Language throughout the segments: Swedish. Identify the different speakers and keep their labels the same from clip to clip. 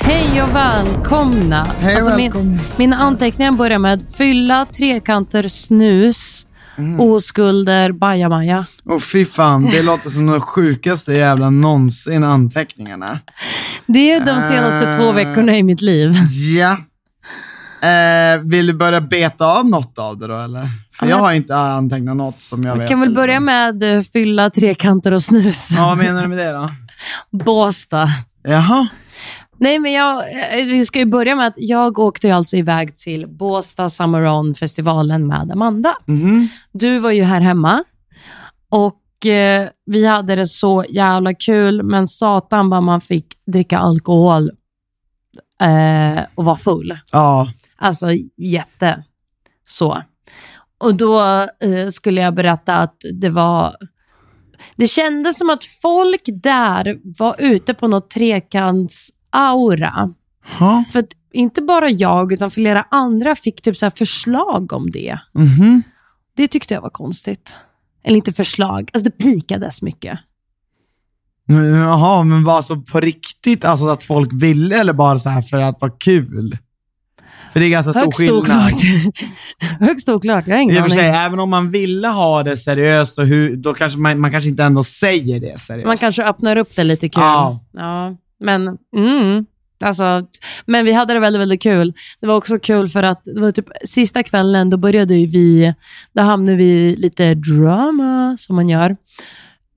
Speaker 1: Hej och välkomna. Alltså,
Speaker 2: Hej och
Speaker 1: min,
Speaker 2: välkomna.
Speaker 1: mina anteckningar börjar med fylla, trekanter, snus,
Speaker 2: Mm.
Speaker 1: oskulder, bajamaja.
Speaker 2: Och fy fan, det låter som de sjukaste jävla någonsin anteckningarna.
Speaker 1: Det är de senaste
Speaker 2: Ah.
Speaker 1: två veckorna i mitt liv.
Speaker 2: Ja. Eh, vill du börja beta av något av det då, eller? För jag har inte antecknat något som jag
Speaker 1: Jag
Speaker 2: vet.
Speaker 1: kan väl
Speaker 2: om.
Speaker 1: börja med eh, fylla, trekanter och snus.
Speaker 2: Ja, vad menar du med det då?
Speaker 1: Båstad.
Speaker 2: Jaha.
Speaker 1: Nej, men jag, eh, vi ska ju börja med att jag åkte ju alltså iväg till Båstad Summer On-festivalen med Amanda.
Speaker 2: Mhm.
Speaker 1: Du var ju här hemma och eh, vi hade det så jävla kul, men satan vad man fick dricka alkohol eh, och vara full.
Speaker 2: Ja.
Speaker 1: Alltså jätte. Så. Och då eh, skulle jag berätta att det var... Det kändes som att folk där var ute på något trekants-aura.
Speaker 2: Ha.
Speaker 1: För att inte bara jag, utan flera andra fick typ så här förslag om det.
Speaker 2: Mhm.
Speaker 1: Det tyckte jag var konstigt. Eller inte förslag. Alltså det pikades mycket.
Speaker 2: Men, Jaha, men var så på riktigt, alltså att folk ville eller bara så här för att vara kul? För det är ganska stor
Speaker 1: Högst
Speaker 2: skillnad.
Speaker 1: oklart. Högst oklart. Jag har
Speaker 2: I och
Speaker 1: ingen
Speaker 2: för sig,
Speaker 1: aning.
Speaker 2: även om man ville ha det seriöst, så hur, då kanske man, man kanske inte ändå säger det seriöst.
Speaker 1: Man kanske öppnar upp det lite kul.
Speaker 2: Ja.
Speaker 1: Ja, men, mm, alltså, men vi hade det väldigt, väldigt kul. Det var också kul för att det var typ sista kvällen, då började ju vi, då hamnade vi i lite drama, som man gör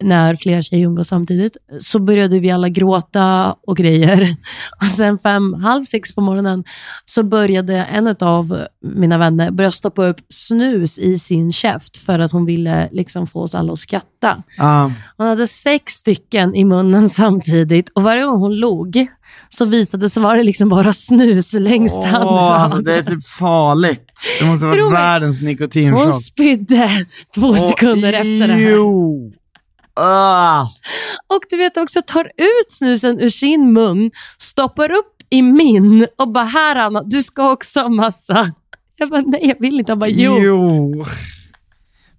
Speaker 1: när flera tjejer umgås samtidigt. Så började vi alla gråta och grejer. Och sen fem, halv sex på morgonen så började en av mina vänner börja stoppa upp snus i sin käft för att hon ville liksom få oss alla att skratta.
Speaker 2: Ja.
Speaker 1: Hon hade sex stycken i munnen samtidigt och varje gång hon log så visade sig vara det liksom bara snus längst
Speaker 2: Åh, alltså,
Speaker 1: fram.
Speaker 2: det är typ farligt. Det måste
Speaker 1: Tro
Speaker 2: vara
Speaker 1: mig.
Speaker 2: världens nikotinchock.
Speaker 1: Hon spydde två
Speaker 2: Åh,
Speaker 1: sekunder efter det här.
Speaker 2: Jo. Ah.
Speaker 1: Och du vet också, tar ut snusen ur sin mun, stoppar upp i min och bara “Här Anna, du ska också ha massa”. Jag bara “Nej, jag vill inte”. Han bara “Jo”.
Speaker 2: jo.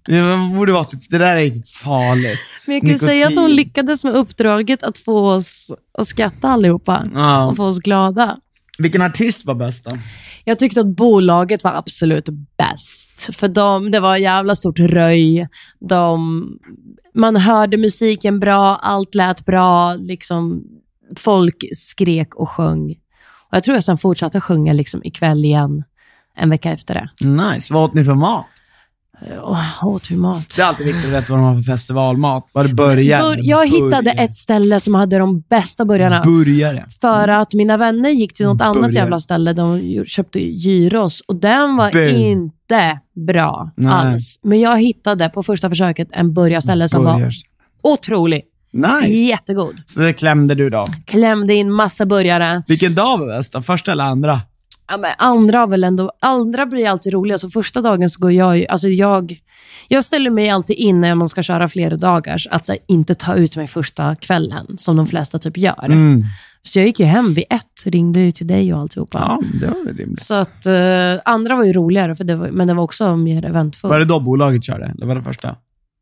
Speaker 2: Det borde vara typ, det där är ju typ farligt.
Speaker 1: Men jag kan ju säga att hon lyckades med uppdraget att få oss att skratta allihopa
Speaker 2: Ja.
Speaker 1: och få oss glada.
Speaker 2: Vilken artist var bäst då?
Speaker 1: Jag tyckte att bolaget var absolut bäst. För de, det var jävla stort röj. De, man hörde musiken bra, allt lät bra. Liksom, folk skrek och sjöng. Och jag tror jag sen fortsatte sjunga liksom, ikväll igen, en vecka efter det.
Speaker 2: Nice. Vad åt ni för mat?
Speaker 1: Åh, åt vi mat?
Speaker 2: Det är alltid viktigt att veta vad de har för festivalmat. Var det börjar.
Speaker 1: Bur- jag hittade ett ställe som hade de bästa burgarna.
Speaker 2: Burgare.
Speaker 1: För att mina vänner gick till något annat
Speaker 2: Burgare.
Speaker 1: jävla ställe. De gjo- köpte gyros och den var
Speaker 2: Bu.
Speaker 1: inte bra
Speaker 2: Nej.
Speaker 1: alls. Men jag hittade på första försöket en burgarställe som var
Speaker 2: Burgare.
Speaker 1: otrolig.
Speaker 2: Nice.
Speaker 1: Jättegod.
Speaker 2: Så det klämde du då.
Speaker 1: Klämde in massa burgare.
Speaker 2: Vilken dag var bäst? då? Första eller andra?
Speaker 1: Ja, men andra, har väl ändå, andra blir alltid roliga. Så första dagen så går jag ju... Alltså jag, jag ställer mig alltid in när man ska köra flera dagars att så här, inte ta ut mig första kvällen, som de flesta typ gör.
Speaker 2: Mm.
Speaker 1: Så jag gick ju hem vid ett, ringde ju till dig och alltihopa.
Speaker 2: Ja, det var väl rimligt.
Speaker 1: Så att eh, andra var ju roligare, för det var, men det var också mer eventfull.
Speaker 2: Var det då bolaget körde? Eller var det första?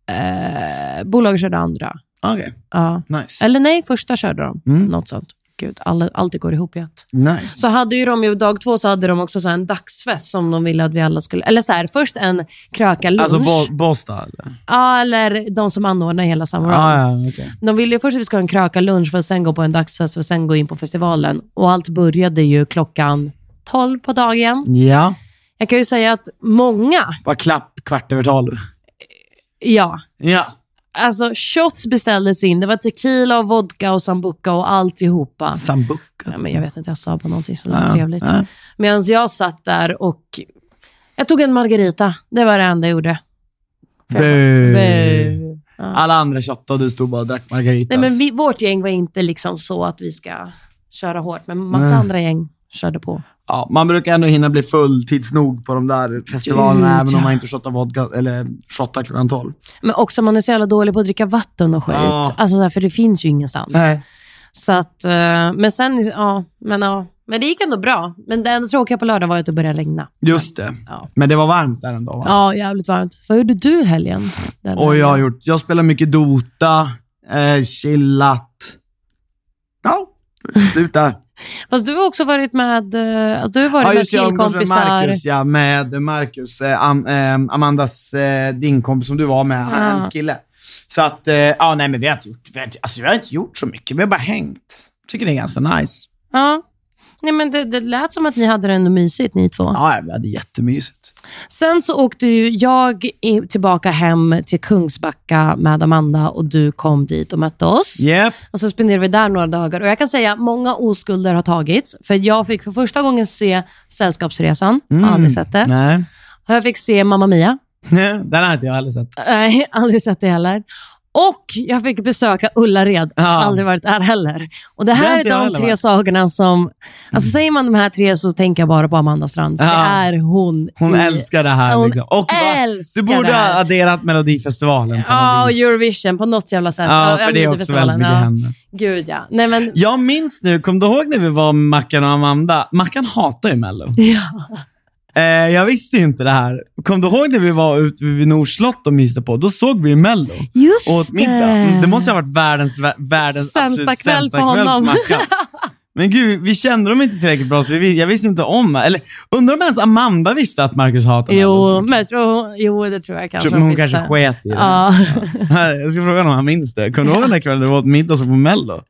Speaker 2: Ah,
Speaker 1: Eh, Bolaget körde andra.
Speaker 2: Okej,
Speaker 1: Ja.
Speaker 2: nice.
Speaker 1: Eller nej, första körde de.
Speaker 2: Mm.
Speaker 1: Något sånt. Gud, alla, allt går ihop i ett.
Speaker 2: nice.
Speaker 1: Så hade ju de ju, dag två så hade de också så här en dagsfest som de ville att vi alla skulle... Eller så här, först en krökarlunch.
Speaker 2: Alltså bo- Båstad? eller?
Speaker 1: ja, eller de som anordnar hela samma
Speaker 2: Ah, ja, okej.
Speaker 1: De ville ju först att vi skulle ha en krökarlunch för att sen gå på en dagsfest för att sen gå in på festivalen. Och allt började ju klockan 12 på dagen.
Speaker 2: Ja.
Speaker 1: Jag kan ju säga att många,
Speaker 2: Bara klapp kvart över tolv.
Speaker 1: ja,
Speaker 2: Ja.
Speaker 1: Alltså shots beställdes in. Det var tequila och vodka och sambuca och alltihopa.
Speaker 2: Ah. Sambuca.
Speaker 1: Ja, men jag vet inte, jag sa bara någonting som lät
Speaker 2: Ja,
Speaker 1: trevligt.
Speaker 2: ja.
Speaker 1: Medan jag satt där och jag tog en margarita. Det var det enda jag gjorde.
Speaker 2: Bu.
Speaker 1: Bu.
Speaker 2: Alla andra shottade och du stod bara och drack margaritas.
Speaker 1: Nej, men vi, vårt gäng var inte liksom så att vi ska köra hårt, men massa
Speaker 2: Nej.
Speaker 1: andra gäng körde på.
Speaker 2: ja, man brukar ändå hinna bli full tids nog på de där festivalerna,
Speaker 1: Gud,
Speaker 2: även
Speaker 1: ja.
Speaker 2: om man inte shottar vodka, eller shottar klockan tolv.
Speaker 1: Men också man är så jävla dålig på att dricka vatten och skit.
Speaker 2: Ja.
Speaker 1: Alltså, så här, för det finns ju ingenstans. Så att, eh, men sen, ja, men ja. Men det gick ändå bra. Men det enda tråkiga på lördag var ju att det började regna.
Speaker 2: Just det.
Speaker 1: Ja.
Speaker 2: Men det var varmt där ändå va?
Speaker 1: Ja, jävligt varmt. Vad gjorde du i helgen? Den
Speaker 2: Och jag har
Speaker 1: helgen?
Speaker 2: gjort, jag spelar mycket Dota, eh, chillat. Ja, slut där.
Speaker 1: Fast du har också varit med, eh, alltså du har varit
Speaker 2: ja,
Speaker 1: med
Speaker 2: just det, jag umgås med
Speaker 1: killkompisar.
Speaker 2: Marcus, ja, med Marcus, eh, Am, eh, Amandas, eh, din kompis som du var med,
Speaker 1: Ja.
Speaker 2: hans kille. Så att, eh, ja nej men vi har inte gjort, vi har inte, alltså vi har inte gjort så mycket, vi har bara hängt. Tycker det är ganska nice.
Speaker 1: Ja. Nej, men det, det lät som att ni hade det ändå mysigt, ni två.
Speaker 2: Ja, ja, vi hade jättemysigt.
Speaker 1: Sen så åkte ju jag i, tillbaka hem till Kungsbacka med Amanda och du kom dit och mötte oss.
Speaker 2: Yep.
Speaker 1: Och så spenderade vi där några dagar. Och jag kan säga många oskulder har tagits. För jag fick för första gången se Sällskapsresan.
Speaker 2: Mm.
Speaker 1: Jag har aldrig sett det.
Speaker 2: Nej.
Speaker 1: Och jag fick se Mamma Mia.
Speaker 2: Nej, Den har inte jag heller sett.
Speaker 1: Nej, aldrig sett det heller. Och jag fick besöka Ullared.
Speaker 2: Ja.
Speaker 1: Aldrig varit där heller. Och det
Speaker 2: Det har
Speaker 1: här
Speaker 2: inte jag
Speaker 1: är de
Speaker 2: heller
Speaker 1: tre
Speaker 2: varit. Mm.
Speaker 1: sagorna som... Alltså säger man de här tre så tänker jag bara på Amanda Strand. För
Speaker 2: Ja.
Speaker 1: Det är hon.
Speaker 2: Hon
Speaker 1: i-
Speaker 2: älskar det här.
Speaker 1: Hon
Speaker 2: liksom. Och va?
Speaker 1: älskar
Speaker 2: Du borde
Speaker 1: det här.
Speaker 2: ha adderat Melodifestivalen på
Speaker 1: Ja,
Speaker 2: något
Speaker 1: och
Speaker 2: vis.
Speaker 1: Eurovision på något jävla sätt.
Speaker 2: Ja, för det är också
Speaker 1: Melodifestivalen,
Speaker 2: väldigt mycket henne.
Speaker 1: Gud ja. Nej, men,
Speaker 2: Jag minns nu, kom du ihåg när vi var med Mackan och Amanda? Mackan hatar ju Mello. Eh, jag visste ju inte det här. Kom du ihåg när vi var ute vid Nors slott och myste på? Då såg vi ju Mello.
Speaker 1: just
Speaker 2: Och åt middag. Mm, Det måste ha varit världens, vä- världens
Speaker 1: Sämsta
Speaker 2: absolut
Speaker 1: kväll
Speaker 2: sämsta
Speaker 1: på
Speaker 2: kväll
Speaker 1: honom.
Speaker 2: Mackan. Men gud, vi kände dem inte tillräckligt bra, så vi, vis- jag visste inte om. Eller undrar om ens Amanda visste att Marcus hatade Mello. så
Speaker 1: Jo,
Speaker 2: mycket.
Speaker 1: men jag tror, jo, det tror jag kanske.
Speaker 2: Tror- men hon
Speaker 1: visste.
Speaker 2: kanske sket i det.
Speaker 1: Ja.
Speaker 2: Jag ska fråga honom om han minns det. Kommer du ihåg den där kvällen när vi åt middag och såg på Mello?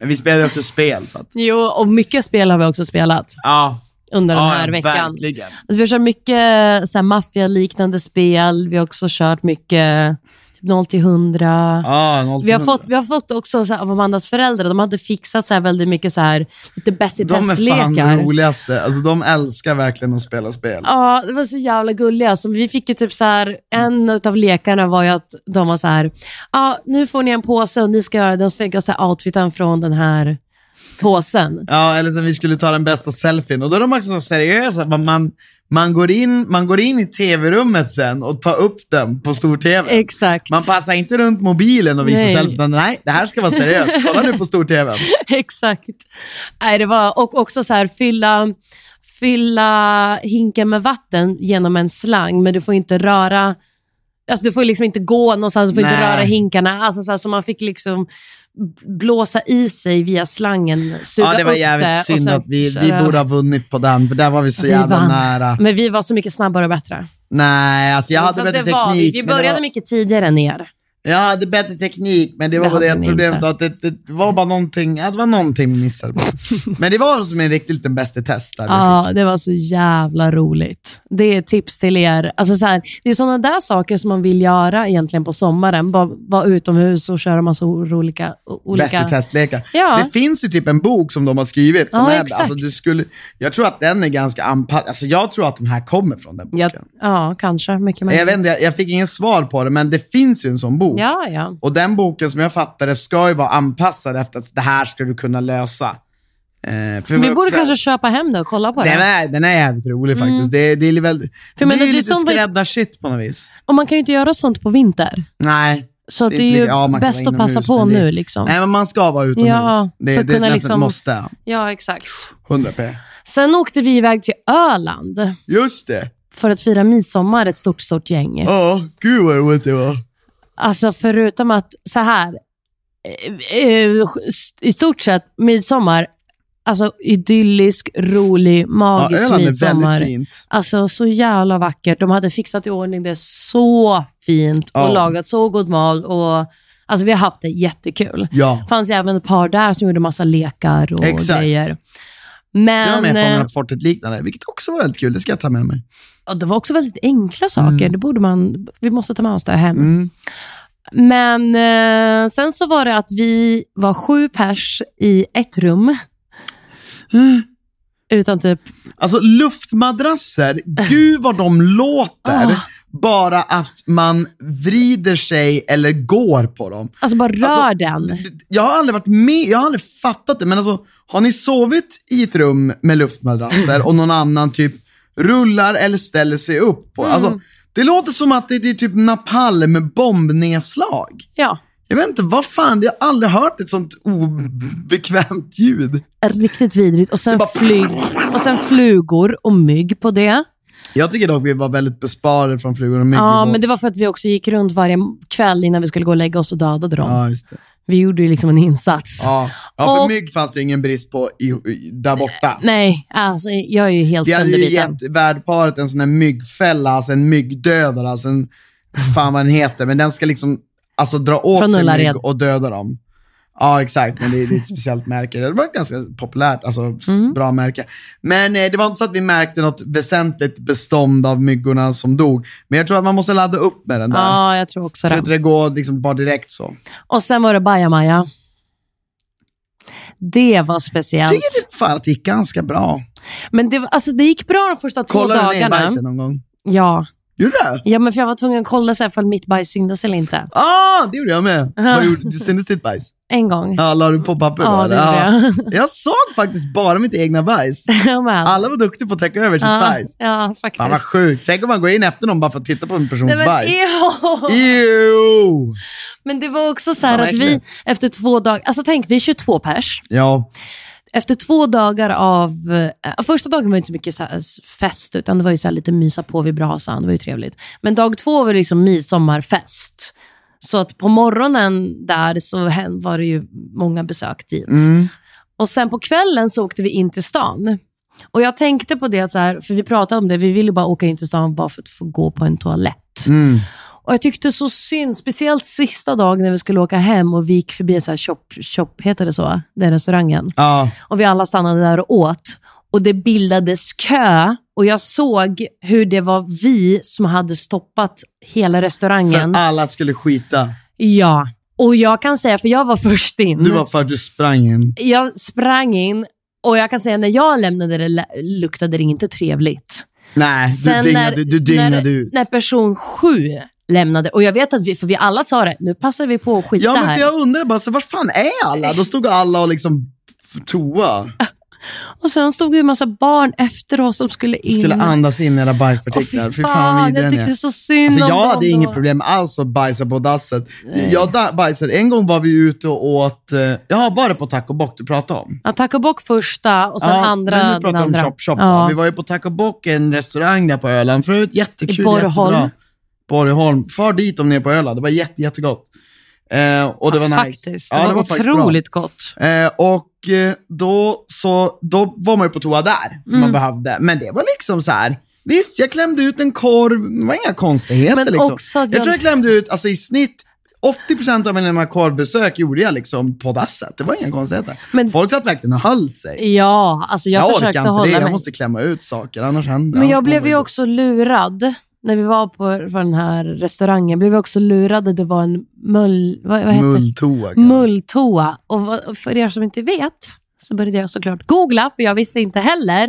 Speaker 2: Men vi spelade ju också spel, så att...
Speaker 1: Jo, och mycket spel har vi också spelat
Speaker 2: Ja,
Speaker 1: under den
Speaker 2: ja,
Speaker 1: här veckan.
Speaker 2: verkligen.
Speaker 1: Alltså, vi har kört mycket så här maffialiknande spel. Vi har också kört mycket typ 0 till 100.
Speaker 2: Ja, 0 till
Speaker 1: Vi har,
Speaker 2: 100.
Speaker 1: fått, vi har fått också så här, av Amandas föräldrar, de hade fixat så här väldigt mycket så här, lite bäst i
Speaker 2: De är fan de
Speaker 1: testlekar.
Speaker 2: roligaste. Alltså, de älskar verkligen att spela spel.
Speaker 1: Ja, det var så jävla gulliga. Alltså, vi fick ju typ så här, en av lekarna var ju att de var så här, ja, nu får ni en påse och ni ska göra den snyggaste outfiten från den här påsen.
Speaker 2: Ja, eller som vi skulle ta den bästa selfien. Och då är de också så seriösa. Man, man, man, går, in, man går in i tv-rummet sen och tar upp den på stor-tv.
Speaker 1: Exakt.
Speaker 2: Man passar inte runt mobilen och visar
Speaker 1: Nej.
Speaker 2: selfien. utan Nej, det här ska vara seriöst. Kolla nu på stor-tv.
Speaker 1: Exakt. Nej, det var, och också så här, fylla, fylla hinken med vatten genom en slang, men du får inte röra... Alltså du får liksom inte gå någonstans, du får inte
Speaker 2: Nej.
Speaker 1: röra hinkarna. Alltså, så, här, så man fick liksom b- blåsa i sig via slangen, suga
Speaker 2: Ja, det var
Speaker 1: upp det
Speaker 2: jävligt
Speaker 1: och
Speaker 2: synd
Speaker 1: sen
Speaker 2: att vi, vi
Speaker 1: köra.
Speaker 2: borde ha vunnit på den, för där var vi så
Speaker 1: Vi
Speaker 2: jävla
Speaker 1: vann.
Speaker 2: nära.
Speaker 1: Men vi var så mycket snabbare och bättre.
Speaker 2: Nej, alltså jag hade
Speaker 1: Fast
Speaker 2: bättre
Speaker 1: det var vi.
Speaker 2: teknik.
Speaker 1: Vi
Speaker 2: men det
Speaker 1: började
Speaker 2: var-
Speaker 1: mycket tidigare än er.
Speaker 2: Jag hade bättre teknik, men det var
Speaker 1: Det
Speaker 2: bara
Speaker 1: hade
Speaker 2: det
Speaker 1: ni
Speaker 2: problemet
Speaker 1: inte.
Speaker 2: att det, det var bara någonting, ja, det var någonting vi missade. men det var som en riktig liten bäst i test. Där Liksom. vi fick.
Speaker 1: Ja, det var så jävla roligt. Det är ett tips till er. Alltså så här, det är sådana där saker som man vill göra egentligen på sommaren. Bara vara utomhus och köra massa o- olika... o-
Speaker 2: Bäst i
Speaker 1: olika...
Speaker 2: testlekar.
Speaker 1: Ja.
Speaker 2: Det finns ju typ en bok som de har skrivit. Som
Speaker 1: Ja,
Speaker 2: är,
Speaker 1: exakt.
Speaker 2: alltså, du skulle, jag tror att den är ganska anpassad. Alltså, jag tror att de här kommer från den boken.
Speaker 1: Ja, ja, kanske. Mycket
Speaker 2: Jag,
Speaker 1: möjligt.
Speaker 2: vet inte, jag, jag fick ingen svar på det, men det finns ju en sån bok.
Speaker 1: Ja, ja.
Speaker 2: Och den boken som jag fattade ska ju vara anpassad efter att det här ska du kunna lösa. Eh, för
Speaker 1: Vi
Speaker 2: också-
Speaker 1: borde kanske köpa hem det och kolla på det. Mm.
Speaker 2: den är, den är jävligt rolig faktiskt. Det, det är väl,
Speaker 1: För
Speaker 2: det
Speaker 1: men
Speaker 2: blir
Speaker 1: det är
Speaker 2: ju lite
Speaker 1: som vi-
Speaker 2: skräddarsytt på något vis.
Speaker 1: Och man kan ju inte göra sånt på vinter.
Speaker 2: Nej.
Speaker 1: Så det,
Speaker 2: är
Speaker 1: är
Speaker 2: inte
Speaker 1: ju
Speaker 2: lika- ja, man kan
Speaker 1: bäst
Speaker 2: vara
Speaker 1: att passa
Speaker 2: inomhus,
Speaker 1: på
Speaker 2: men det-
Speaker 1: nu. Liksom.
Speaker 2: Nej, men man ska vara utomhus.
Speaker 1: Ja,
Speaker 2: det,
Speaker 1: för
Speaker 2: det
Speaker 1: att
Speaker 2: är
Speaker 1: kunna
Speaker 2: nästan
Speaker 1: liksom-
Speaker 2: ett måste.
Speaker 1: Ja, exakt.
Speaker 2: 100 p.
Speaker 1: Sen åkte vi iväg till Öland
Speaker 2: Just det.
Speaker 1: för att fira midsommar, ett stort, stort gäng.
Speaker 2: Ja, gud vad roligt det var.
Speaker 1: Alltså förutom att så här, eh, eh, i stort sett midsommar, alltså idyllisk, rolig,
Speaker 2: Ja,
Speaker 1: magisk
Speaker 2: Öland är
Speaker 1: midsommar.
Speaker 2: väldigt fint.
Speaker 1: Alltså så jävla vackert. De hade fixat i ordning det så fint och
Speaker 2: Ja.
Speaker 1: lagat så god mat. Och, alltså vi har haft det jättekul.
Speaker 2: Ja.
Speaker 1: fanns ju även ett par där som gjorde massa lekar och
Speaker 2: Exakt.
Speaker 1: grejer.
Speaker 2: Jag var med
Speaker 1: Men
Speaker 2: Fångarna
Speaker 1: eh,
Speaker 2: på fortet liknande, vilket också var väldigt kul. Det ska jag ta med mig.
Speaker 1: ja, det var också väldigt enkla saker. Det borde man, vi måste ta med oss det hem.
Speaker 2: Mm.
Speaker 1: Men eh, sen så var det att vi var sju pers i ett rum. Utan typ...
Speaker 2: Alltså luftmadrasser, gud vad de låter.
Speaker 1: Ah.
Speaker 2: Bara att man vrider sig eller går på dem.
Speaker 1: Alltså bara rör
Speaker 2: Alltså,
Speaker 1: den.
Speaker 2: Jag har aldrig varit med, jag har aldrig fattat det, men alltså har ni sovit i ett rum med luftmadrasser och någon annan typ rullar eller ställer sig upp?
Speaker 1: Mm.
Speaker 2: På? Alltså, det låter som att det, det är typ napalm bombnedslag.
Speaker 1: Ja,
Speaker 2: Jag vet inte, vad fan, jag har aldrig hört ett sånt obekvämt ljud.
Speaker 1: riktigt vidrigt. Och sen,
Speaker 2: bara-
Speaker 1: flyg, och sen flugor och mygg på det.
Speaker 2: Jag tycker dock vi var väldigt besparade från flugor och mygg.
Speaker 1: Ja,
Speaker 2: i vår-
Speaker 1: men det var för att vi också gick runt varje kväll innan vi skulle gå och lägga oss och dödade dem.
Speaker 2: ja, just det.
Speaker 1: Vi gjorde ju liksom en insats.
Speaker 2: Ja, ja för
Speaker 1: Och-
Speaker 2: mygg fanns det ingen brist på i, i, där borta.
Speaker 1: Nej, alltså jag är ju helt
Speaker 2: Vi hade ju
Speaker 1: sönderbiten.
Speaker 2: gett värdparet en sån här myggfälla, alltså en myggdödare, alltså en, fan vad den heter, men den ska liksom alltså dra åt
Speaker 1: Från
Speaker 2: sig
Speaker 1: Ullared.
Speaker 2: mygg och döda dem. Ja, exakt, men det är, det är ett speciellt märke. Det var ett ganska populärt, alltså s-
Speaker 1: Mm.
Speaker 2: bra märke. Men eh, det var inte så att vi märkte något väsentligt bestånd av myggorna som dog. Men jag tror att man måste ladda upp med den där.
Speaker 1: Ja, jag tror också
Speaker 2: Jag tror
Speaker 1: det.
Speaker 2: inte det går liksom bara direkt så.
Speaker 1: Och sen var det bajamaja. Det var
Speaker 2: Jag
Speaker 1: speciellt.
Speaker 2: tycker det, fan att det gick ganska bra.
Speaker 1: Men det, var- alltså, det gick bra de första två
Speaker 2: Kollade du ner i
Speaker 1: dagarna.
Speaker 2: bajsen någon gång?
Speaker 1: Ja.
Speaker 2: Gjorde du?
Speaker 1: ja, men för jag var tvungen att kolla så här, ifall mitt bajs syndes eller inte.
Speaker 2: Ah, det gjorde jag med. Vad gjorde du? Syntes ditt bajs?
Speaker 1: En gång.
Speaker 2: Ja, la du på papper då?
Speaker 1: Ja, det
Speaker 2: eller?
Speaker 1: gjorde
Speaker 2: jag. såg faktiskt bara mitt egna bajs.
Speaker 1: Jag med.
Speaker 2: Alla var duktiga på att täcka över sitt
Speaker 1: ja,
Speaker 2: bajs.
Speaker 1: ja, faktiskt.
Speaker 2: Fan vad sjukt. Tänk om man går in efter någon bara för att titta på en persons
Speaker 1: Nej, men,
Speaker 2: bajs.
Speaker 1: ew.
Speaker 2: Ew.
Speaker 1: men det var också så här
Speaker 2: Fan, vad
Speaker 1: att vi
Speaker 2: äckligt.
Speaker 1: efter två dagar, alltså tänk vi är 22 pers.
Speaker 2: Ja,
Speaker 1: Efter två dagar av... Eh, första dagen var det inte så mycket så här fest, utan det var ju så här lite mysa på vid brasan. Det var ju trevligt. Men dag två var det liksom midsommarfest. Så att på morgonen där så hän- var det ju många besök dit. Och sen på kvällen så åkte vi in till stan. Och jag tänkte på det, så här, för vi pratade om det, vi ville bara åka in till stan bara för att få gå på en toalett.
Speaker 2: Mm.
Speaker 1: Och jag tyckte så synd, speciellt sista dagen när vi skulle åka hem och vi gick förbi en så här shop, shop, heter det så? Den restaurangen
Speaker 2: ja.
Speaker 1: och vi alla stannade där och åt. Och det bildades kö och jag såg hur det var vi som hade stoppat hela restaurangen.
Speaker 2: För alla skulle skita.
Speaker 1: Ja, och jag kan säga, för jag var först in.
Speaker 2: Du var för att du sprang in.
Speaker 1: Jag sprang in och jag kan säga när jag lämnade det la- luktade det inte trevligt.
Speaker 2: Nej, du dyngade, du dyngade
Speaker 1: när,
Speaker 2: ut.
Speaker 1: när person sju lämnade, och jag vet att vi, för vi alla sa det, nu passar vi på att skita
Speaker 2: Ja, men
Speaker 1: här.
Speaker 2: för jag undrade bara, så vart fan är alla? Då stod alla och liksom f- toa.
Speaker 1: Och sen stod det en massa barn efter oss som skulle in.
Speaker 2: Skulle andas in i era
Speaker 1: Åh, fy
Speaker 2: bajspartiklar.
Speaker 1: fan,
Speaker 2: Fy fan vad vidrig
Speaker 1: jag
Speaker 2: den är.
Speaker 1: tyckte så synd
Speaker 2: Alltså,
Speaker 1: om
Speaker 2: jag
Speaker 1: dem
Speaker 2: hade inget
Speaker 1: då.
Speaker 2: problem alls att bajsa på dasset. Jag da- bajsade, en gång var vi ute och åt, eh, ja var det på Taco Bock du pratade om?
Speaker 1: Ja, taco bock första och sen
Speaker 2: ja,
Speaker 1: andra.
Speaker 2: men Nu
Speaker 1: den
Speaker 2: pratar vi om
Speaker 1: andra.
Speaker 2: Chop Chop.
Speaker 1: Ja.
Speaker 2: Ja. Vi var ju på Taco Bock, en restaurang där på Öland förut. Jättekul,
Speaker 1: I Borgholm.
Speaker 2: jättebra. Borgholm. Far dit om ni är på Öland, det var jätte, jättegott. Eh, och det
Speaker 1: Ja,
Speaker 2: var nice.
Speaker 1: Faktiskt. Det, var
Speaker 2: faktiskt bra.
Speaker 1: otroligt gott.
Speaker 2: Eh, och eh, då, så, då var man ju på toa där, för
Speaker 1: Mm.
Speaker 2: man behövde. Men det var liksom så här. Visst, jag klämde ut en korv, det var inga konstigheter.
Speaker 1: Men
Speaker 2: liksom.
Speaker 1: också att
Speaker 2: jag...
Speaker 1: jag-
Speaker 2: tror jag klämde ut alltså, i snitt 80% av mina korvbesök gjorde jag liksom på dasset. Det var inga konstigheter.
Speaker 1: Men-
Speaker 2: Folk satt verkligen och höll sig.
Speaker 1: Ja, alltså jag,
Speaker 2: orkar
Speaker 1: försökte
Speaker 2: inte
Speaker 1: hålla
Speaker 2: det. Jag
Speaker 1: mig.
Speaker 2: måste klämma ut saker, annars händer
Speaker 1: Men
Speaker 2: annars
Speaker 1: jag
Speaker 2: mår
Speaker 1: blev
Speaker 2: man
Speaker 1: ju
Speaker 2: inte
Speaker 1: också lurad. När vi var på, på den här restaurangen blev vi också lurade. Det var en mull... Vad, vad heter det?
Speaker 2: Mulltoa. kanske.
Speaker 1: Mulltoa. Och vad- och för er som inte vet så började jag såklart googla, för jag visste inte heller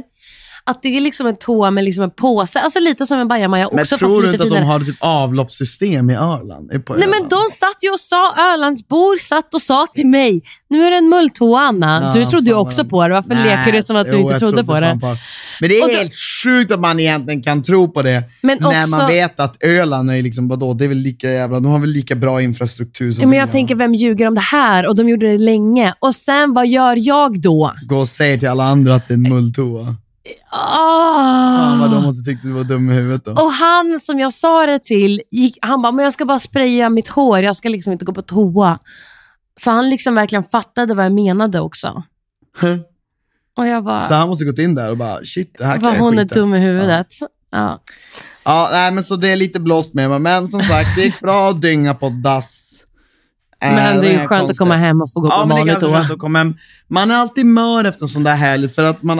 Speaker 1: att det är liksom en toa med liksom en påse. Alltså lite som en bajamaja
Speaker 2: Men
Speaker 1: också,
Speaker 2: tror
Speaker 1: fast
Speaker 2: du
Speaker 1: lite
Speaker 2: inte att
Speaker 1: finare.
Speaker 2: de har typ avloppssystem i Öland? På
Speaker 1: Nej men
Speaker 2: Öland?
Speaker 1: de satt ju och sa, Ölandsbor satt och sa till mig, nu är det en mulltoa Anna. Du
Speaker 2: Ja,
Speaker 1: trodde ju
Speaker 2: fan,
Speaker 1: också
Speaker 2: vad-
Speaker 1: på det, varför
Speaker 2: Nej,
Speaker 1: leker du som att du
Speaker 2: jo,
Speaker 1: inte
Speaker 2: jag
Speaker 1: trodde på det?
Speaker 2: fan Men det är
Speaker 1: Och då-
Speaker 2: helt sjukt att man egentligen kan tro på det
Speaker 1: Men
Speaker 2: när
Speaker 1: också-
Speaker 2: man vet att Öland är liksom, vadå, det är väl lika jävla, de har väl lika bra infrastruktur som
Speaker 1: Ja, men
Speaker 2: vi
Speaker 1: jag
Speaker 2: har.
Speaker 1: tänker, vem ljuger om det här? Och de gjorde det länge. Och sen, vad gör jag då?
Speaker 2: Gå och säg till alla andra att det är en mulltoa.
Speaker 1: Ah.
Speaker 2: Fan vad de måste tyckt du var dum i huvudet då.
Speaker 1: Och han som jag sa det till, gick, han bara, men jag ska bara spraya mitt hår, jag ska liksom inte gå på toa. Så han liksom verkligen fattade vad jag menade också. Och jag bara,
Speaker 2: Så han måste gått in där och bara, shit, det här kan
Speaker 1: vad
Speaker 2: jag
Speaker 1: hon är
Speaker 2: skita
Speaker 1: dum i huvudet. Ja.
Speaker 2: Ja, nej, men så det är lite blåst med mig. Men som sagt, det gick bra att dynga på dass. Äh,
Speaker 1: Men det är ju
Speaker 2: inga
Speaker 1: skönt att komma
Speaker 2: konstigheter.
Speaker 1: hem och få gå på
Speaker 2: Ja, men det är
Speaker 1: vanlig
Speaker 2: ganska
Speaker 1: toa.
Speaker 2: skönt att komma hem. Man är alltid mör efter en sån där helg för att man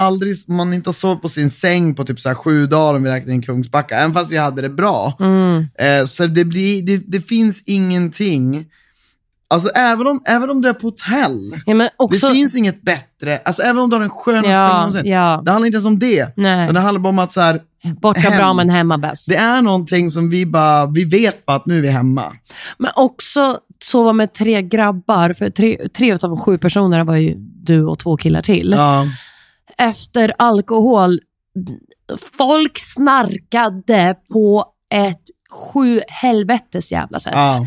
Speaker 2: aldrig, man inte har sovit på sin säng på typ så här sju dagar om vi räknar in Kungsbacka, även fast vi hade det bra.
Speaker 1: Mm.
Speaker 2: Eh, så det, blir, det, det finns ingenting, alltså även om, även om du är på hotell,
Speaker 1: Ja, men också,
Speaker 2: det finns inget bättre, alltså även om du har den skönaste
Speaker 1: Ja,
Speaker 2: sängen någonsin.
Speaker 1: ja.
Speaker 2: Det handlar inte ens om det,
Speaker 1: Nej.
Speaker 2: utan det handlar bara om att så här,
Speaker 1: borta bra
Speaker 2: hem.
Speaker 1: men hemma bäst.
Speaker 2: det är någonting som vi bara, vi vet bara att nu är vi hemma.
Speaker 1: Men också sova med tre grabbar, för tre, tre av de sju personerna var ju du och två killar till.
Speaker 2: Ja.
Speaker 1: efter alkohol, folk snarkade på ett sju helvetes jävla sätt.
Speaker 2: Ja.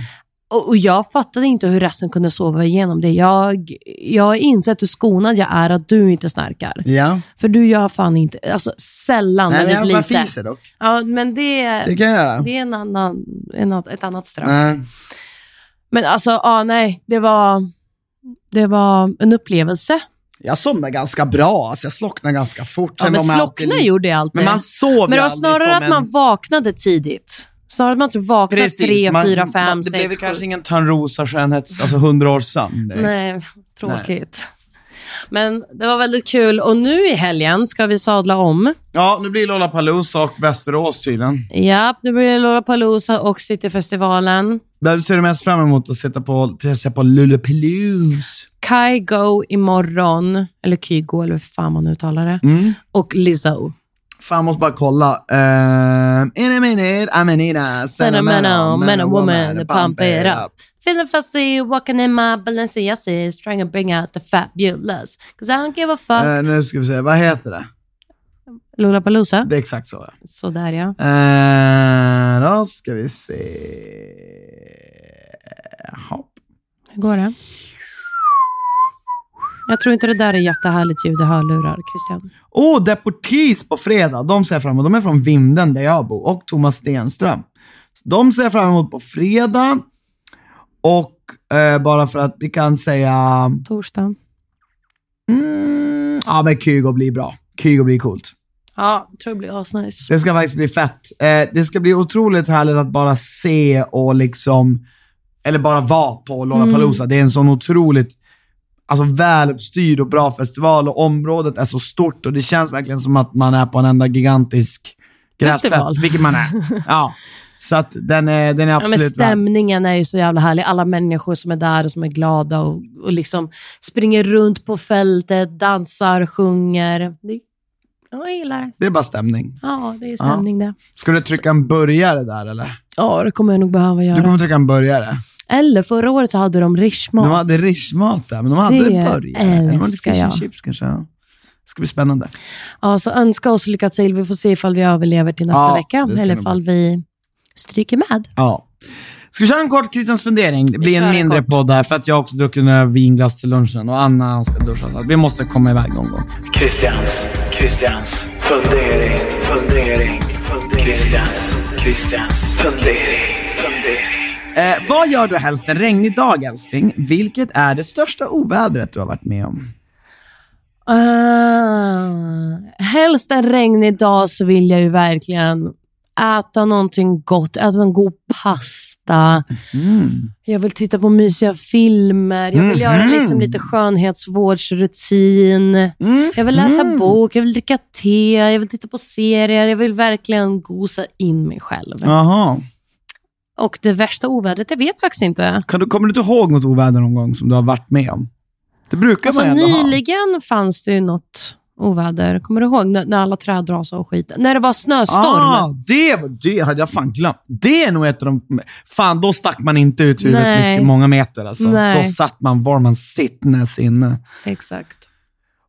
Speaker 1: Och, och jag fattade inte hur resten kunde sova igenom det. Jag, jag inser hur skonad jag är att du inte snarkar.
Speaker 2: ja.
Speaker 1: För du gör fan inte, alltså sällan
Speaker 2: Nej, men
Speaker 1: väldigt
Speaker 2: jag bara
Speaker 1: lite.
Speaker 2: fiser dock.
Speaker 1: Ja, men det,
Speaker 2: Det
Speaker 1: det,
Speaker 2: kan jag göra.
Speaker 1: är en annan, en, an- ett annat straff.
Speaker 2: Nej.
Speaker 1: Men alltså, ja, nej, det var, det var en upplevelse.
Speaker 2: Jag somnade ganska bra, alltså jag slocknade ganska fort.
Speaker 1: Ja,
Speaker 2: Sen
Speaker 1: men
Speaker 2: var man alltid
Speaker 1: slockna
Speaker 2: lite-
Speaker 1: gjorde jag alltid.
Speaker 2: Men man sov
Speaker 1: Men
Speaker 2: ju
Speaker 1: det var
Speaker 2: aldrig
Speaker 1: snarare
Speaker 2: som
Speaker 1: att man
Speaker 2: en...
Speaker 1: vaknade tidigt. Snarare att man typ vaknade tre,
Speaker 3: man-
Speaker 1: fyra,
Speaker 3: man-
Speaker 1: fem,
Speaker 3: Det blev
Speaker 1: sex,
Speaker 3: väl kanske
Speaker 1: sju.
Speaker 3: ingen Törnrosa skönhets, alltså hundra års sömn. direkt.
Speaker 1: Nej, tråkigt. Men det var väldigt kul. Och nu i helgen ska vi sadla om.
Speaker 3: Ja, nu blir Lollapalooza och Västerås tydligen.
Speaker 1: Ja, nu blir det Lollapalooza och Cityfestivalen.
Speaker 3: Där ser du mest fram emot att sitta på, att se på Lollapalooza.
Speaker 1: Kai Go imorgon, eller Kygo eller hur fan man uttalar det. Och Lizzo.
Speaker 2: Fan, jag måste bara kolla. Ehm, in a minute, I'm a nina.
Speaker 1: Sen a man, a man, a woman, they pump it up. Feeling fussy, walking in my Balenciaga sis, trying to bring out the fabulous. Cause I don't give a fuck.
Speaker 2: Eh, nu ska vi se, vad heter det?
Speaker 1: Lollapalooza.
Speaker 2: Det är exakt så. ja.
Speaker 1: Sådär ja.
Speaker 2: Eh, då ska vi se. Hopp.
Speaker 1: Hur går det? Jag tror inte det där är jättehärligt ljud i hörlurar, Christian.
Speaker 2: Oh, Deportees på fredag. De ser jag fram emot. De är från Vinden där jag bor och Thomas Stenström. Så de ser jag fram emot på fredag. Och eh, bara för att vi kan säga...
Speaker 1: Torsdag.
Speaker 2: Mm, ja, men Kygo blir bra. Kygo blir coolt.
Speaker 1: Ja, jag tror det blir asnice.
Speaker 2: Det ska faktiskt bli fett. Eh, det ska bli otroligt härligt att bara se och liksom, eller bara vara på
Speaker 1: Mm.
Speaker 2: Lollapalooza. Det är en sån otroligt alltså, väluppstyrd och bra festival och området är så stort och det känns verkligen som att man är på en enda gigantisk
Speaker 1: Festival.
Speaker 2: Gräsfest, vilket man är. Ja. Så att den är, den är
Speaker 1: Ja, men
Speaker 2: absolut värd.
Speaker 1: stämningen är ju så jävla härlig. Alla människor som är där och som är glada och, och liksom springer runt på fältet, dansar, sjunger. Det, ja, jag gillar det.
Speaker 4: Det är bara stämning.
Speaker 1: Ja, det är stämning det.
Speaker 4: Ska du trycka en burgare där eller?
Speaker 1: Ja, det kommer jag nog behöva göra.
Speaker 4: Du kommer trycka en burgare.
Speaker 1: Eller förra året så hade de rishmat.
Speaker 4: De hade rishmat där, men de hade
Speaker 1: Det
Speaker 4: burgare. Eller var det
Speaker 1: älskar
Speaker 4: fish and
Speaker 1: jag.
Speaker 4: Chips kanske. ja. Det ska bli spännande.
Speaker 1: Ja, så önska oss lycka till. Vi får se ifall vi överlever till nästa
Speaker 4: Ja,
Speaker 1: vecka.
Speaker 4: det ska
Speaker 1: Eller
Speaker 4: nog
Speaker 1: ifall vi stryker med.
Speaker 2: Ja. Ska vi köra en kort Christians fundering? Det blir
Speaker 1: kör
Speaker 2: en
Speaker 1: en
Speaker 2: mindre
Speaker 1: kort.
Speaker 2: podd här för att jag har också druckit några vinglas till lunchen och Anna ska duscha så att vi måste komma iväg någon gång.
Speaker 5: Christians, Christians fundering, fundering, fundering. Christians, Christians fundering, fundering.
Speaker 2: Eh, vad gör du helst en regnig dag älskling? Vilket är det
Speaker 4: Största ovädret du har varit med om?
Speaker 1: Ah, helst en regnig dag så vill jag ju verkligen äta någonting gott, äta en god pasta. Jag vill titta på mysiga filmer. Jag vill göra liksom lite skönhetsvårdsrutin. Jag vill läsa bok, jag vill dricka te, jag vill titta på serier. Jag vill verkligen gosa in mig själv.
Speaker 2: Jaha.
Speaker 1: Och det värsta ovädret, jag vet faktiskt inte.
Speaker 2: Kan du, kommer du inte ihåg något oväder någon gång som du har varit med om? Det brukar
Speaker 1: Alltså,
Speaker 2: man ändå
Speaker 1: nyligen fanns det ju något oväder. Kommer du ihåg när, när alla träd rasade och skit? När det var
Speaker 2: ha.
Speaker 1: snöstorm.
Speaker 2: Ah, det, det hade jag fan glömt. Det är nog ett av de... Fan, då stack man inte ut huvudet
Speaker 1: Nej.
Speaker 2: mycket, många meter. Alltså.
Speaker 1: Nej.
Speaker 2: Då satt man var man sittnes inne.
Speaker 1: Exakt.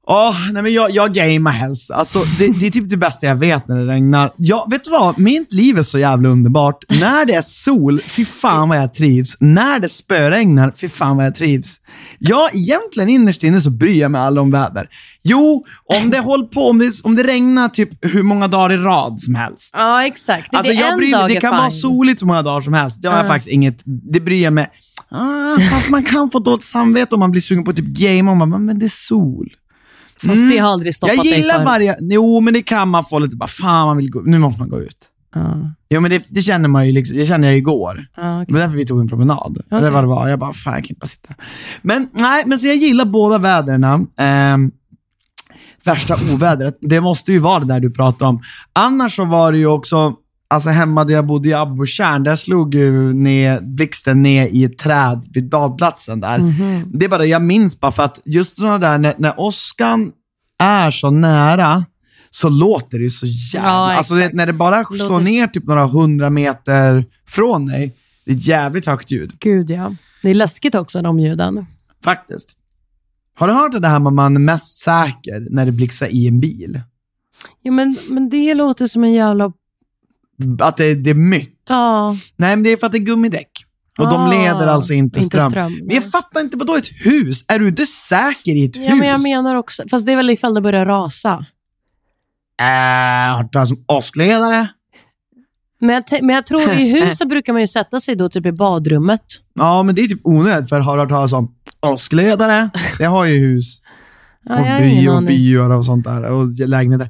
Speaker 2: Ja, nej men jag, jag gamear helst. Alltså, det, det är typ det bästa jag vet när det regnar. Ja, vet du vad? Mitt liv är så jävla underbart. När det är sol, fy fan vad jag trivs. När det spöregnar, fy fan vad jag trivs. Jag egentligen innerst inne så bryr jag mig aldrig om väder. Jo, om det håller på, om det, om det regnar typ hur många dagar i rad som helst.
Speaker 1: Ja, exakt. Det,
Speaker 2: Alltså,
Speaker 1: det,
Speaker 2: jag
Speaker 1: en
Speaker 2: bryr,
Speaker 1: dag
Speaker 2: mig- det
Speaker 1: är
Speaker 2: kan
Speaker 1: fine.
Speaker 2: vara soligt hur många dagar som helst. Det har jag faktiskt inget... Det bryr jag mig... Ah, fast man kan få dåligt samvete om man blir sugen på typ game och man bara, men det är sol.
Speaker 1: Fast det har aldrig stoppat
Speaker 2: Mm. Jag
Speaker 1: dig
Speaker 2: gillar
Speaker 1: för.
Speaker 2: varje... Jo, men det kan man få lite bara, fan man vill gå, nu måste man gå ut. Jo, men det, det känner man ju liksom, det känner jag igår.
Speaker 1: Ja, Ah, okej.
Speaker 2: Det var därför vi tog en promenad. Eller vad det var. Jag bara, fan jag kan inte bara sitta här. Men nej, men så jag gillar båda väderna. Ehm, värsta ovädret, det måste ju vara det där du pratar om. Annars så var det ju också, alltså hemma där jag bodde i Abborrtjärn, där slog ju ner, blixten ner i ett träd vid badplatsen där.
Speaker 1: Mhm.
Speaker 2: Det är bara det jag minns bara för att just sådana där, när, när åskan är så nära, så låter det ju så jävla...
Speaker 1: Ja,
Speaker 2: alltså det,
Speaker 1: exakt.
Speaker 2: när det bara slår
Speaker 1: Låter-
Speaker 2: ner typ några hundra meter från dig, det är ett jävligt högt ljud.
Speaker 1: Gud, ja. Det är läskigt också, de ljuden.
Speaker 2: Faktiskt. Har du hört det här med att man är mest säker när det blixtrar i en bil?
Speaker 1: Jo, men, men det låter som en jävla...
Speaker 2: Att det, det är mytt?
Speaker 1: Ja,
Speaker 2: Nej, men det är för att det är gummidäck. Och de
Speaker 1: Ah,
Speaker 2: leder alltså inte,
Speaker 1: inte
Speaker 2: ström.
Speaker 1: ström,
Speaker 2: Men jag
Speaker 1: nej.
Speaker 2: fattar inte, vadå ett hus? Är du inte säker i ett
Speaker 1: ja
Speaker 2: hus?
Speaker 1: men jag menar också... Fast det är väl ifall det börjar rasa.
Speaker 2: Äh, har du talat om åskledare?
Speaker 1: Men jag, te- men jag tror i huset brukar man ju sätta sig då typ i badrummet.
Speaker 2: Ja, men det är typ onödigt, för har du hört talas om åskledare? Det har ju hus.
Speaker 1: Ja,
Speaker 2: och
Speaker 1: jag har
Speaker 2: by
Speaker 1: ingen
Speaker 2: och
Speaker 1: aning.
Speaker 2: byar och sånt där. Och lägenheter.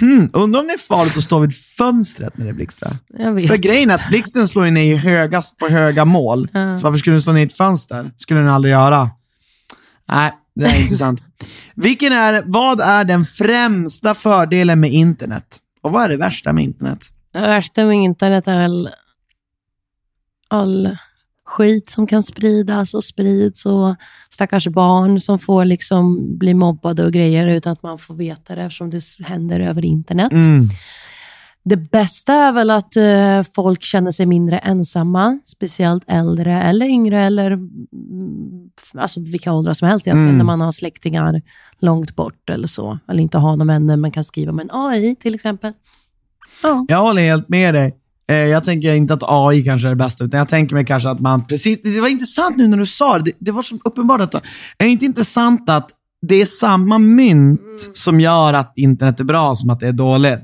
Speaker 2: Hmm, undrar om det är farligt att stå vid fönstret när det blixtrar.
Speaker 1: Jag vet.
Speaker 2: För grejen är att blixten slår ju ner i högast på höga mål. Så varför skulle den slå ner i ett fönster? skulle den aldrig göra. Nej, det är intressant. Vilken är, vad är den främsta fördelen med internet? Och vad är det värsta med internet?
Speaker 1: Det värsta med internet är väl all skit som kan spridas och sprids och stackars barn som får liksom bli mobbade och grejer utan att man får veta det eftersom det händer över internet.
Speaker 2: Mm.
Speaker 1: Det bästa är väl att eh, folk känner sig mindre ensamma, speciellt äldre eller yngre eller mm, alltså vilka åldrar som helst egentligen, när man har släktingar långt bort eller så. Eller inte har någon vänner men kan skriva med en AI till exempel. Ja.
Speaker 2: Jag håller helt med dig. Eh, Jag tänker inte att AI kanske är det bästa, utan jag tänker mig kanske att man precis... Det var intressant nu när du sa det. Det, det var så uppenbart att... Är det inte intressant att det är samma mynt som gör att internet är bra som att det är dåligt?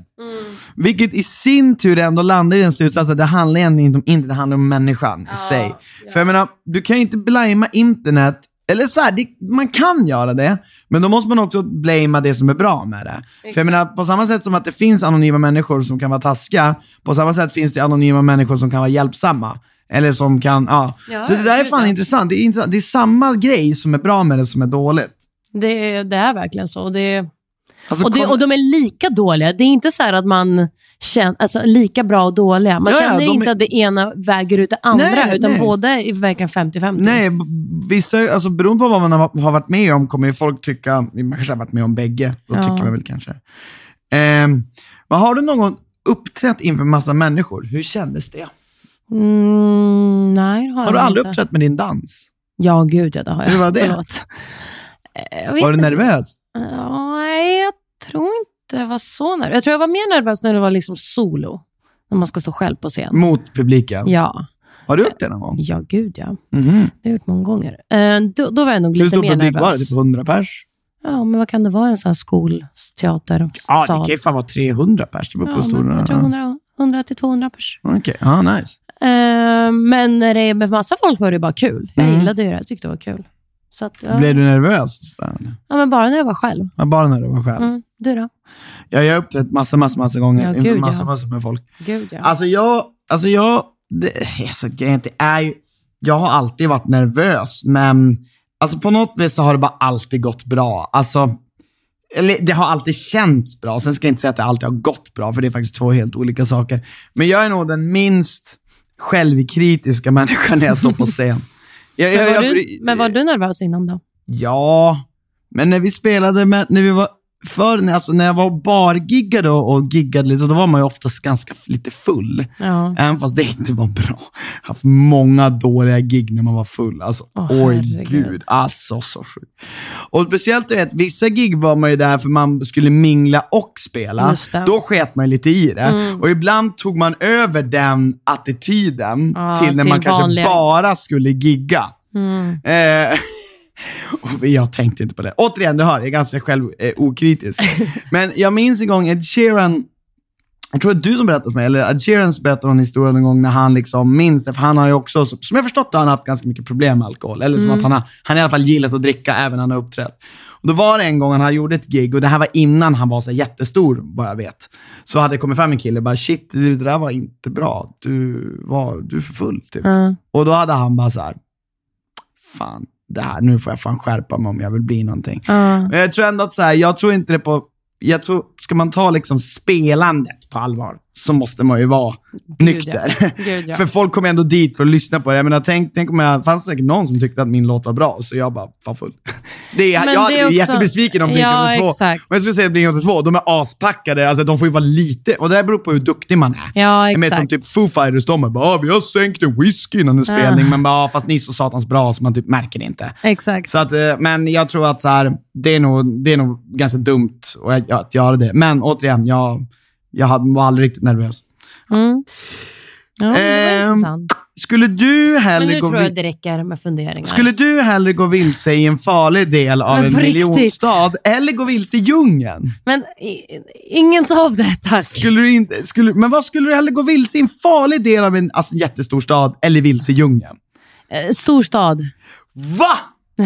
Speaker 2: Vilket i sin tur ändå landar i den slutsatsen att det handlar egentligen inte om internet, det handlar om människan i sig. För jag menar, du kan ju inte blamea internet, eller så här, det, man kan göra det, men då måste man också blamea det som är bra med det. För jag menar, på samma sätt som att det finns anonyma människor som kan vara taskiga, på samma sätt finns det anonyma människor som kan vara hjälpsamma. Eller som kan, ja. så det där är fan intressant. Det är, intressant. det är samma grej som är bra med det som är dåligt.
Speaker 1: Det, är- det är verkligen så. Och, det,
Speaker 2: Alltså,
Speaker 1: och, det,
Speaker 2: kom-
Speaker 1: och de är lika dåliga. Det är inte så här att man kän- alltså, lika bra och dåliga. Man
Speaker 2: Ja, ja,
Speaker 1: känner
Speaker 2: de
Speaker 1: inte
Speaker 2: är-
Speaker 1: att det ena väger ut det andra,
Speaker 2: Nej,
Speaker 1: utan
Speaker 2: nej.
Speaker 1: båda är verkligen 50-50.
Speaker 2: Nej, b- vissa, alltså beroende på vad man har har varit med om kommer ju folk tycka, man kanske har varit med om bägge, då
Speaker 1: Ja.
Speaker 2: tycker man väl kanske. Ehm, men har du någon gång uppträtt inför massa människor? Hur kändes det?
Speaker 1: Mm, nej, det har,
Speaker 2: Har du
Speaker 1: jag
Speaker 2: aldrig
Speaker 1: inte.
Speaker 2: uppträtt med din dans?
Speaker 1: Ja, gud ja, det har jag.
Speaker 2: Hur var det?
Speaker 1: Förlåt. Eh, Jag vet
Speaker 2: Var du
Speaker 1: inte.
Speaker 2: nervös?
Speaker 1: Ja, nej, jag tror inte jag var så nervös. Jag tror jag var mer nervös när det var liksom solo, när man ska stå själv på scen.
Speaker 2: Mot publiken?
Speaker 1: Ja,
Speaker 2: Har du gjort det någon gång?
Speaker 1: ja gud ja.
Speaker 2: Mhm.
Speaker 1: Det har jag gjort många gånger. Eh, då, då var jag nog
Speaker 2: Hur
Speaker 1: lite
Speaker 2: stor
Speaker 1: mer
Speaker 2: publik var det?
Speaker 1: nervös.
Speaker 2: Typ 100 pers?
Speaker 1: Ja, men vad kan det vara? En sån här skolteater?
Speaker 2: Ja, det kan ju fan vara 300 pers. Det beror på
Speaker 1: ja,
Speaker 2: stora...
Speaker 1: men jag tror 100, 100 till 200 pers.
Speaker 2: Okej, ja, nice.
Speaker 1: Eh, men när det är med massa folk var det bara kul. Jag
Speaker 2: Mm.
Speaker 1: gillade ju det. Jag tyckte det var kul. Så att, ja.
Speaker 2: Blev du nervös? och sådär, eller?
Speaker 1: ja, men bara när jag var själv.
Speaker 2: Ja, Bara när du var själv?
Speaker 1: Mm, du då?
Speaker 2: Ja, jag har uppträtt massa, massa, massa gånger
Speaker 1: Ja,
Speaker 2: inför
Speaker 1: gud,
Speaker 2: massa,
Speaker 1: ja.
Speaker 2: massa med folk.
Speaker 1: Gud ja.
Speaker 2: Alltså jag, alltså jag, det, alltså, grejen är att det är ju, jag har alltid varit nervös, men alltså på något vis så har det bara alltid gått bra. Alltså, eller det har alltid känts bra. Sen ska jag inte säga att det alltid har gått bra, för det är faktiskt två helt olika saker. Men jag är nog den minst självkritiska människan när jag står på scen. Jag,
Speaker 1: men,
Speaker 2: jag-
Speaker 1: var
Speaker 2: jag
Speaker 1: du,
Speaker 2: bry-
Speaker 1: men var du nervös innan då?
Speaker 2: Ja, men när vi spelade med, när vi var förr, när- alltså när jag var bargiggade och, och giggade lite, så då var man ju oftast ganska f- lite full.
Speaker 1: Ja.
Speaker 2: Även fast det inte var bra. Haft många dåliga gig när man var full. Alltså,
Speaker 1: Åh,
Speaker 2: oj
Speaker 1: herregud.
Speaker 2: gud. Alltså, så sjukt. Och speciellt, du vet, vissa gig var man ju där för man skulle mingla och spela.
Speaker 1: Just det. Mm.
Speaker 2: Då sket man lite i det. Och ibland tog man över den attityden
Speaker 1: Ja,
Speaker 2: till när
Speaker 1: till
Speaker 2: man kanske
Speaker 1: vanliga- Mm.
Speaker 2: bara skulle gigga. Eh, och jag tänkte inte på det. Återigen, du hör, jag är ganska själv eh, okritisk. Men jag minns en gång Ed Sheeran, jag tror att du som berättade för mig, eller Ed Sheeran berättade en historia någon gång när han liksom minns det, för han har ju också, som jag förstått det, han har haft ganska mycket problem med alkohol. Eller som att han har, han i alla fall gillat att dricka även när han har uppträtt. Och då var det en gång han gjorde ett gig, och det här var innan han var så här jättestor, vad jag vet. Så hade det kommit fram en kille och bara, shit, du, det där var inte bra. Du var, du är för full, typ.
Speaker 1: Ja.
Speaker 2: Och då hade han bara så här, fan, det här, nu får jag fan skärpa mig om jag vill bli någonting.
Speaker 1: Ja.
Speaker 2: Men jag tror ändå att så här, jag tror inte det på, jag tror, ska man ta liksom spelandet på allvar, så måste man ju vara nykter.
Speaker 1: ja. Gud, ja.
Speaker 2: För folk kommer ändå dit för att lyssna på det. Jag menar, tänk, tänk om jag, fanns det säkert någon som tyckte att min låt var bra, så jag bara, fan full. Det är,
Speaker 1: Men
Speaker 2: jag hade
Speaker 1: det är
Speaker 2: blivit
Speaker 1: också-
Speaker 2: jättebesviken om Blink
Speaker 1: Ja,
Speaker 2: 182.
Speaker 1: exakt.
Speaker 2: Men jag skulle säga att Blink 182, de är aspackade, alltså de får ju vara lite, och det där beror på hur duktig man är.
Speaker 1: Ja,
Speaker 2: Jag vet, som
Speaker 1: exakt.
Speaker 2: typ Foo Fighters, de är bara ah, “vi har sänkt en whisky innan en spelning”, men bara ah, “fast ni är så satans bra så man typ märker det inte”.
Speaker 1: Exakt.
Speaker 2: Så att, eh, men jag tror att så här, det, är nog, det är nog ganska dumt och jag- att göra det. Men återigen, jag, jag hade- var aldrig riktigt nervös.
Speaker 1: Mm. Ja, det var
Speaker 2: Ehm,
Speaker 1: intressant.
Speaker 2: Skulle du
Speaker 1: Men
Speaker 2: hellre,
Speaker 1: nu
Speaker 2: gå,
Speaker 1: tror
Speaker 2: vil-
Speaker 1: jag det räcker med funderingar.
Speaker 2: skulle du hellre gå vilse i en farlig del av
Speaker 1: Men
Speaker 2: en
Speaker 1: på riktigt?
Speaker 2: miljonstad eller gå vilse i djungeln?
Speaker 1: Men i, inget av det, tack.
Speaker 2: Skulle du inte, skulle, men vad skulle du hellre gå vilse i en farlig del av en alltså, jättestor stad eller vilse i djungeln?
Speaker 1: Eh, Storstad.
Speaker 2: Va?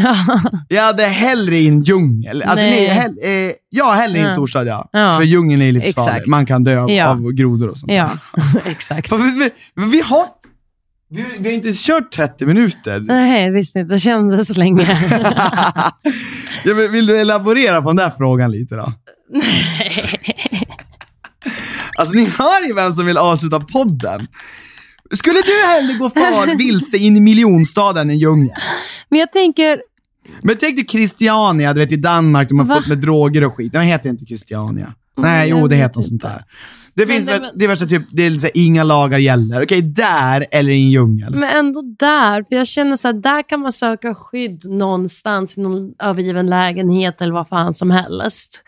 Speaker 2: Jag hade hellre i en djungel. Alltså,
Speaker 1: Nej.
Speaker 2: nej. hell, eh, jag hellre i en
Speaker 1: Ja.
Speaker 2: storstad, ja.
Speaker 1: Ja.
Speaker 2: För djungeln är livsfarlig.
Speaker 1: Exakt.
Speaker 2: Man kan dö av,
Speaker 1: Ja.
Speaker 2: av grodor och sånt.
Speaker 1: ja, exakt.
Speaker 2: Fan, Vi, vi, vi, har, vi, vi har inte kört 30 minuter.
Speaker 1: Nej, visst inte. Det kändes länge.
Speaker 2: Ja, men vill du elaborera på den där frågan lite då? Alltså ni hör ju vem som vill avsluta podden. Skulle du hellre gå far vilse in i miljonstaden än djungeln?
Speaker 1: Men jag tänker,
Speaker 2: Men tänk dig Christiania, du vet i Danmark, de har
Speaker 1: Va? Mm,
Speaker 2: fått med droger och skit. Den heter inte Christiania. Nej,
Speaker 1: jag
Speaker 2: jo det
Speaker 1: vet
Speaker 2: heter något sånt
Speaker 1: inte.
Speaker 2: där. Det
Speaker 1: Men
Speaker 2: finns
Speaker 1: det-
Speaker 2: väl, det är värsta typ, det är lite så här, inga lagar gäller. Okej, där eller i en djungel.
Speaker 1: men ändå där. För jag känner så här, där kan man söka skydd någonstans i någon övergiven lägenhet eller vad fan som helst.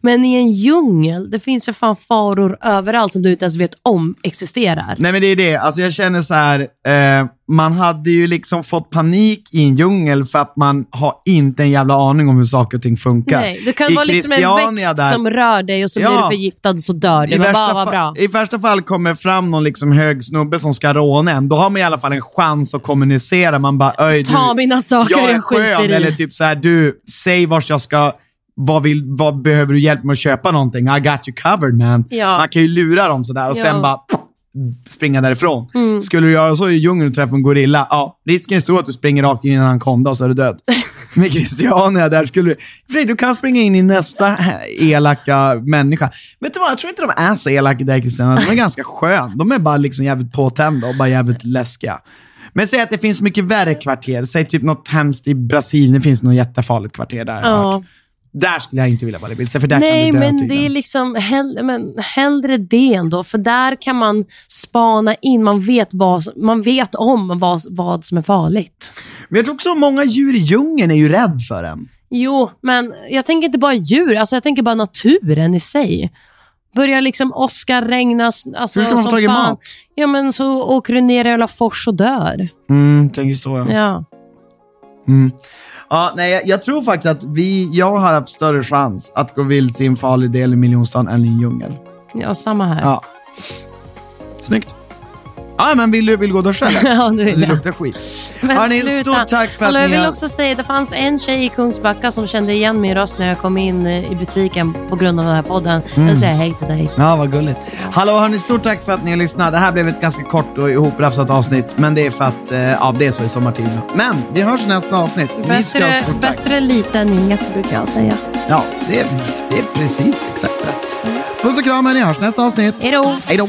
Speaker 1: Men i en djungel, det finns ju fan faror överallt som du inte ens vet om existerar.
Speaker 2: Nej men det är det, alltså jag känner så här. Eh, man hade ju liksom fått panik i en djungel för att man har inte en jävla aning om hur saker och ting funkar.
Speaker 1: Nej, det kan
Speaker 2: I
Speaker 1: vara liksom en
Speaker 2: Christiania
Speaker 1: växt som rör dig och så blir
Speaker 2: Ja.
Speaker 1: du förgiftad och så dör du. Men bara, vad
Speaker 2: fa-
Speaker 1: bra.
Speaker 2: I värsta fall kommer fram någon liksom hög snubbe som ska råna en. Då har man i alla fall en chans att kommunicera. Man bara, öj du,
Speaker 1: Ta mina saker,
Speaker 2: jag är
Speaker 1: jag skiter
Speaker 2: skön.
Speaker 1: i.
Speaker 2: Eller typ så här, du, säg vart jag ska, vad, vill, vad behöver du hjälp med att köpa någonting? I got you covered man.
Speaker 1: Ja.
Speaker 2: Man kan ju lura dem sådär och
Speaker 1: Ja. Mm.
Speaker 2: sen bara pff, springa därifrån. Skulle du göra så i djungeln och träffa en gorilla, ja, risken är stor att du springer rakt in i en anakonda och så är du död. Med Christiania där skulle du... Fredrik, du kan springa in i nästa elaka människa. Vet du vad, jag tror inte de är så elaka där Christiania. De är ganska skön. De är bara liksom jävligt påtända och bara jävligt läskiga. Men säg att det finns mycket värre kvarter. Säg typ något hemskt i Brasilien. Det finns något jättefarligt kvarter där. har jag
Speaker 1: Ja.
Speaker 2: hört. Där skulle jag inte vilja vara i bild, för där
Speaker 1: Nej,
Speaker 2: kan du dö
Speaker 1: men det är
Speaker 2: tydligen.
Speaker 1: liksom hell, men hellre det ändå. För där kan man spana in. Man vet, vad, som- man vet om vad, vad som är farligt.
Speaker 2: Men jag tror också många djur i djungeln är ju rädd för en.
Speaker 1: Jo, men jag tänker inte bara djur. Alltså jag tänker bara naturen i sig. Börjar liksom åska, regna, s- alltså,
Speaker 2: Hur ska man få
Speaker 1: som
Speaker 2: tag i
Speaker 1: fan.
Speaker 2: mat?
Speaker 1: Ja, men så åker du ner i alla fors och dör.
Speaker 2: Mm, tänker så ja. Mm.
Speaker 1: Ja.
Speaker 2: Ja, nej, jag, jag tror faktiskt att vi, jag har haft större chans att gå vilse i en farlig del i miljonstaden än i en djungel.
Speaker 1: ja, samma här.
Speaker 2: Ja. Snyggt. Ja, men vill du vill du gå och duscha eller?
Speaker 1: Ja, det vill
Speaker 2: Det
Speaker 1: jag.
Speaker 2: luktar skit. Hörni, stort tack för
Speaker 1: Hallå,
Speaker 2: att ni
Speaker 1: jag vill
Speaker 2: har-
Speaker 1: också säga, det fanns en tjej i Kungsbacka som kände igen min röst när jag kom in eh, i butiken på grund av den här podden. Jag
Speaker 2: Mm.
Speaker 1: vill säga hej till dig.
Speaker 2: Ja, vad gulligt. Hallå hörni, stort tack för att ni har lyssnat. Det här blev ett ganska kort och ihoprafsat avsnitt, men det är för att eh, ja, det är så i sommartid. nu. Men vi hörs i nästa avsnitt. Vi ska ha
Speaker 1: Bättre,
Speaker 2: stort tack.
Speaker 1: bättre lite än inget, brukar jag säga.
Speaker 2: Ja, det är, det är precis exakt rätt. Puss och kram, hörni. Hörs nästa avsnitt.
Speaker 1: Hej då!
Speaker 2: Hej då.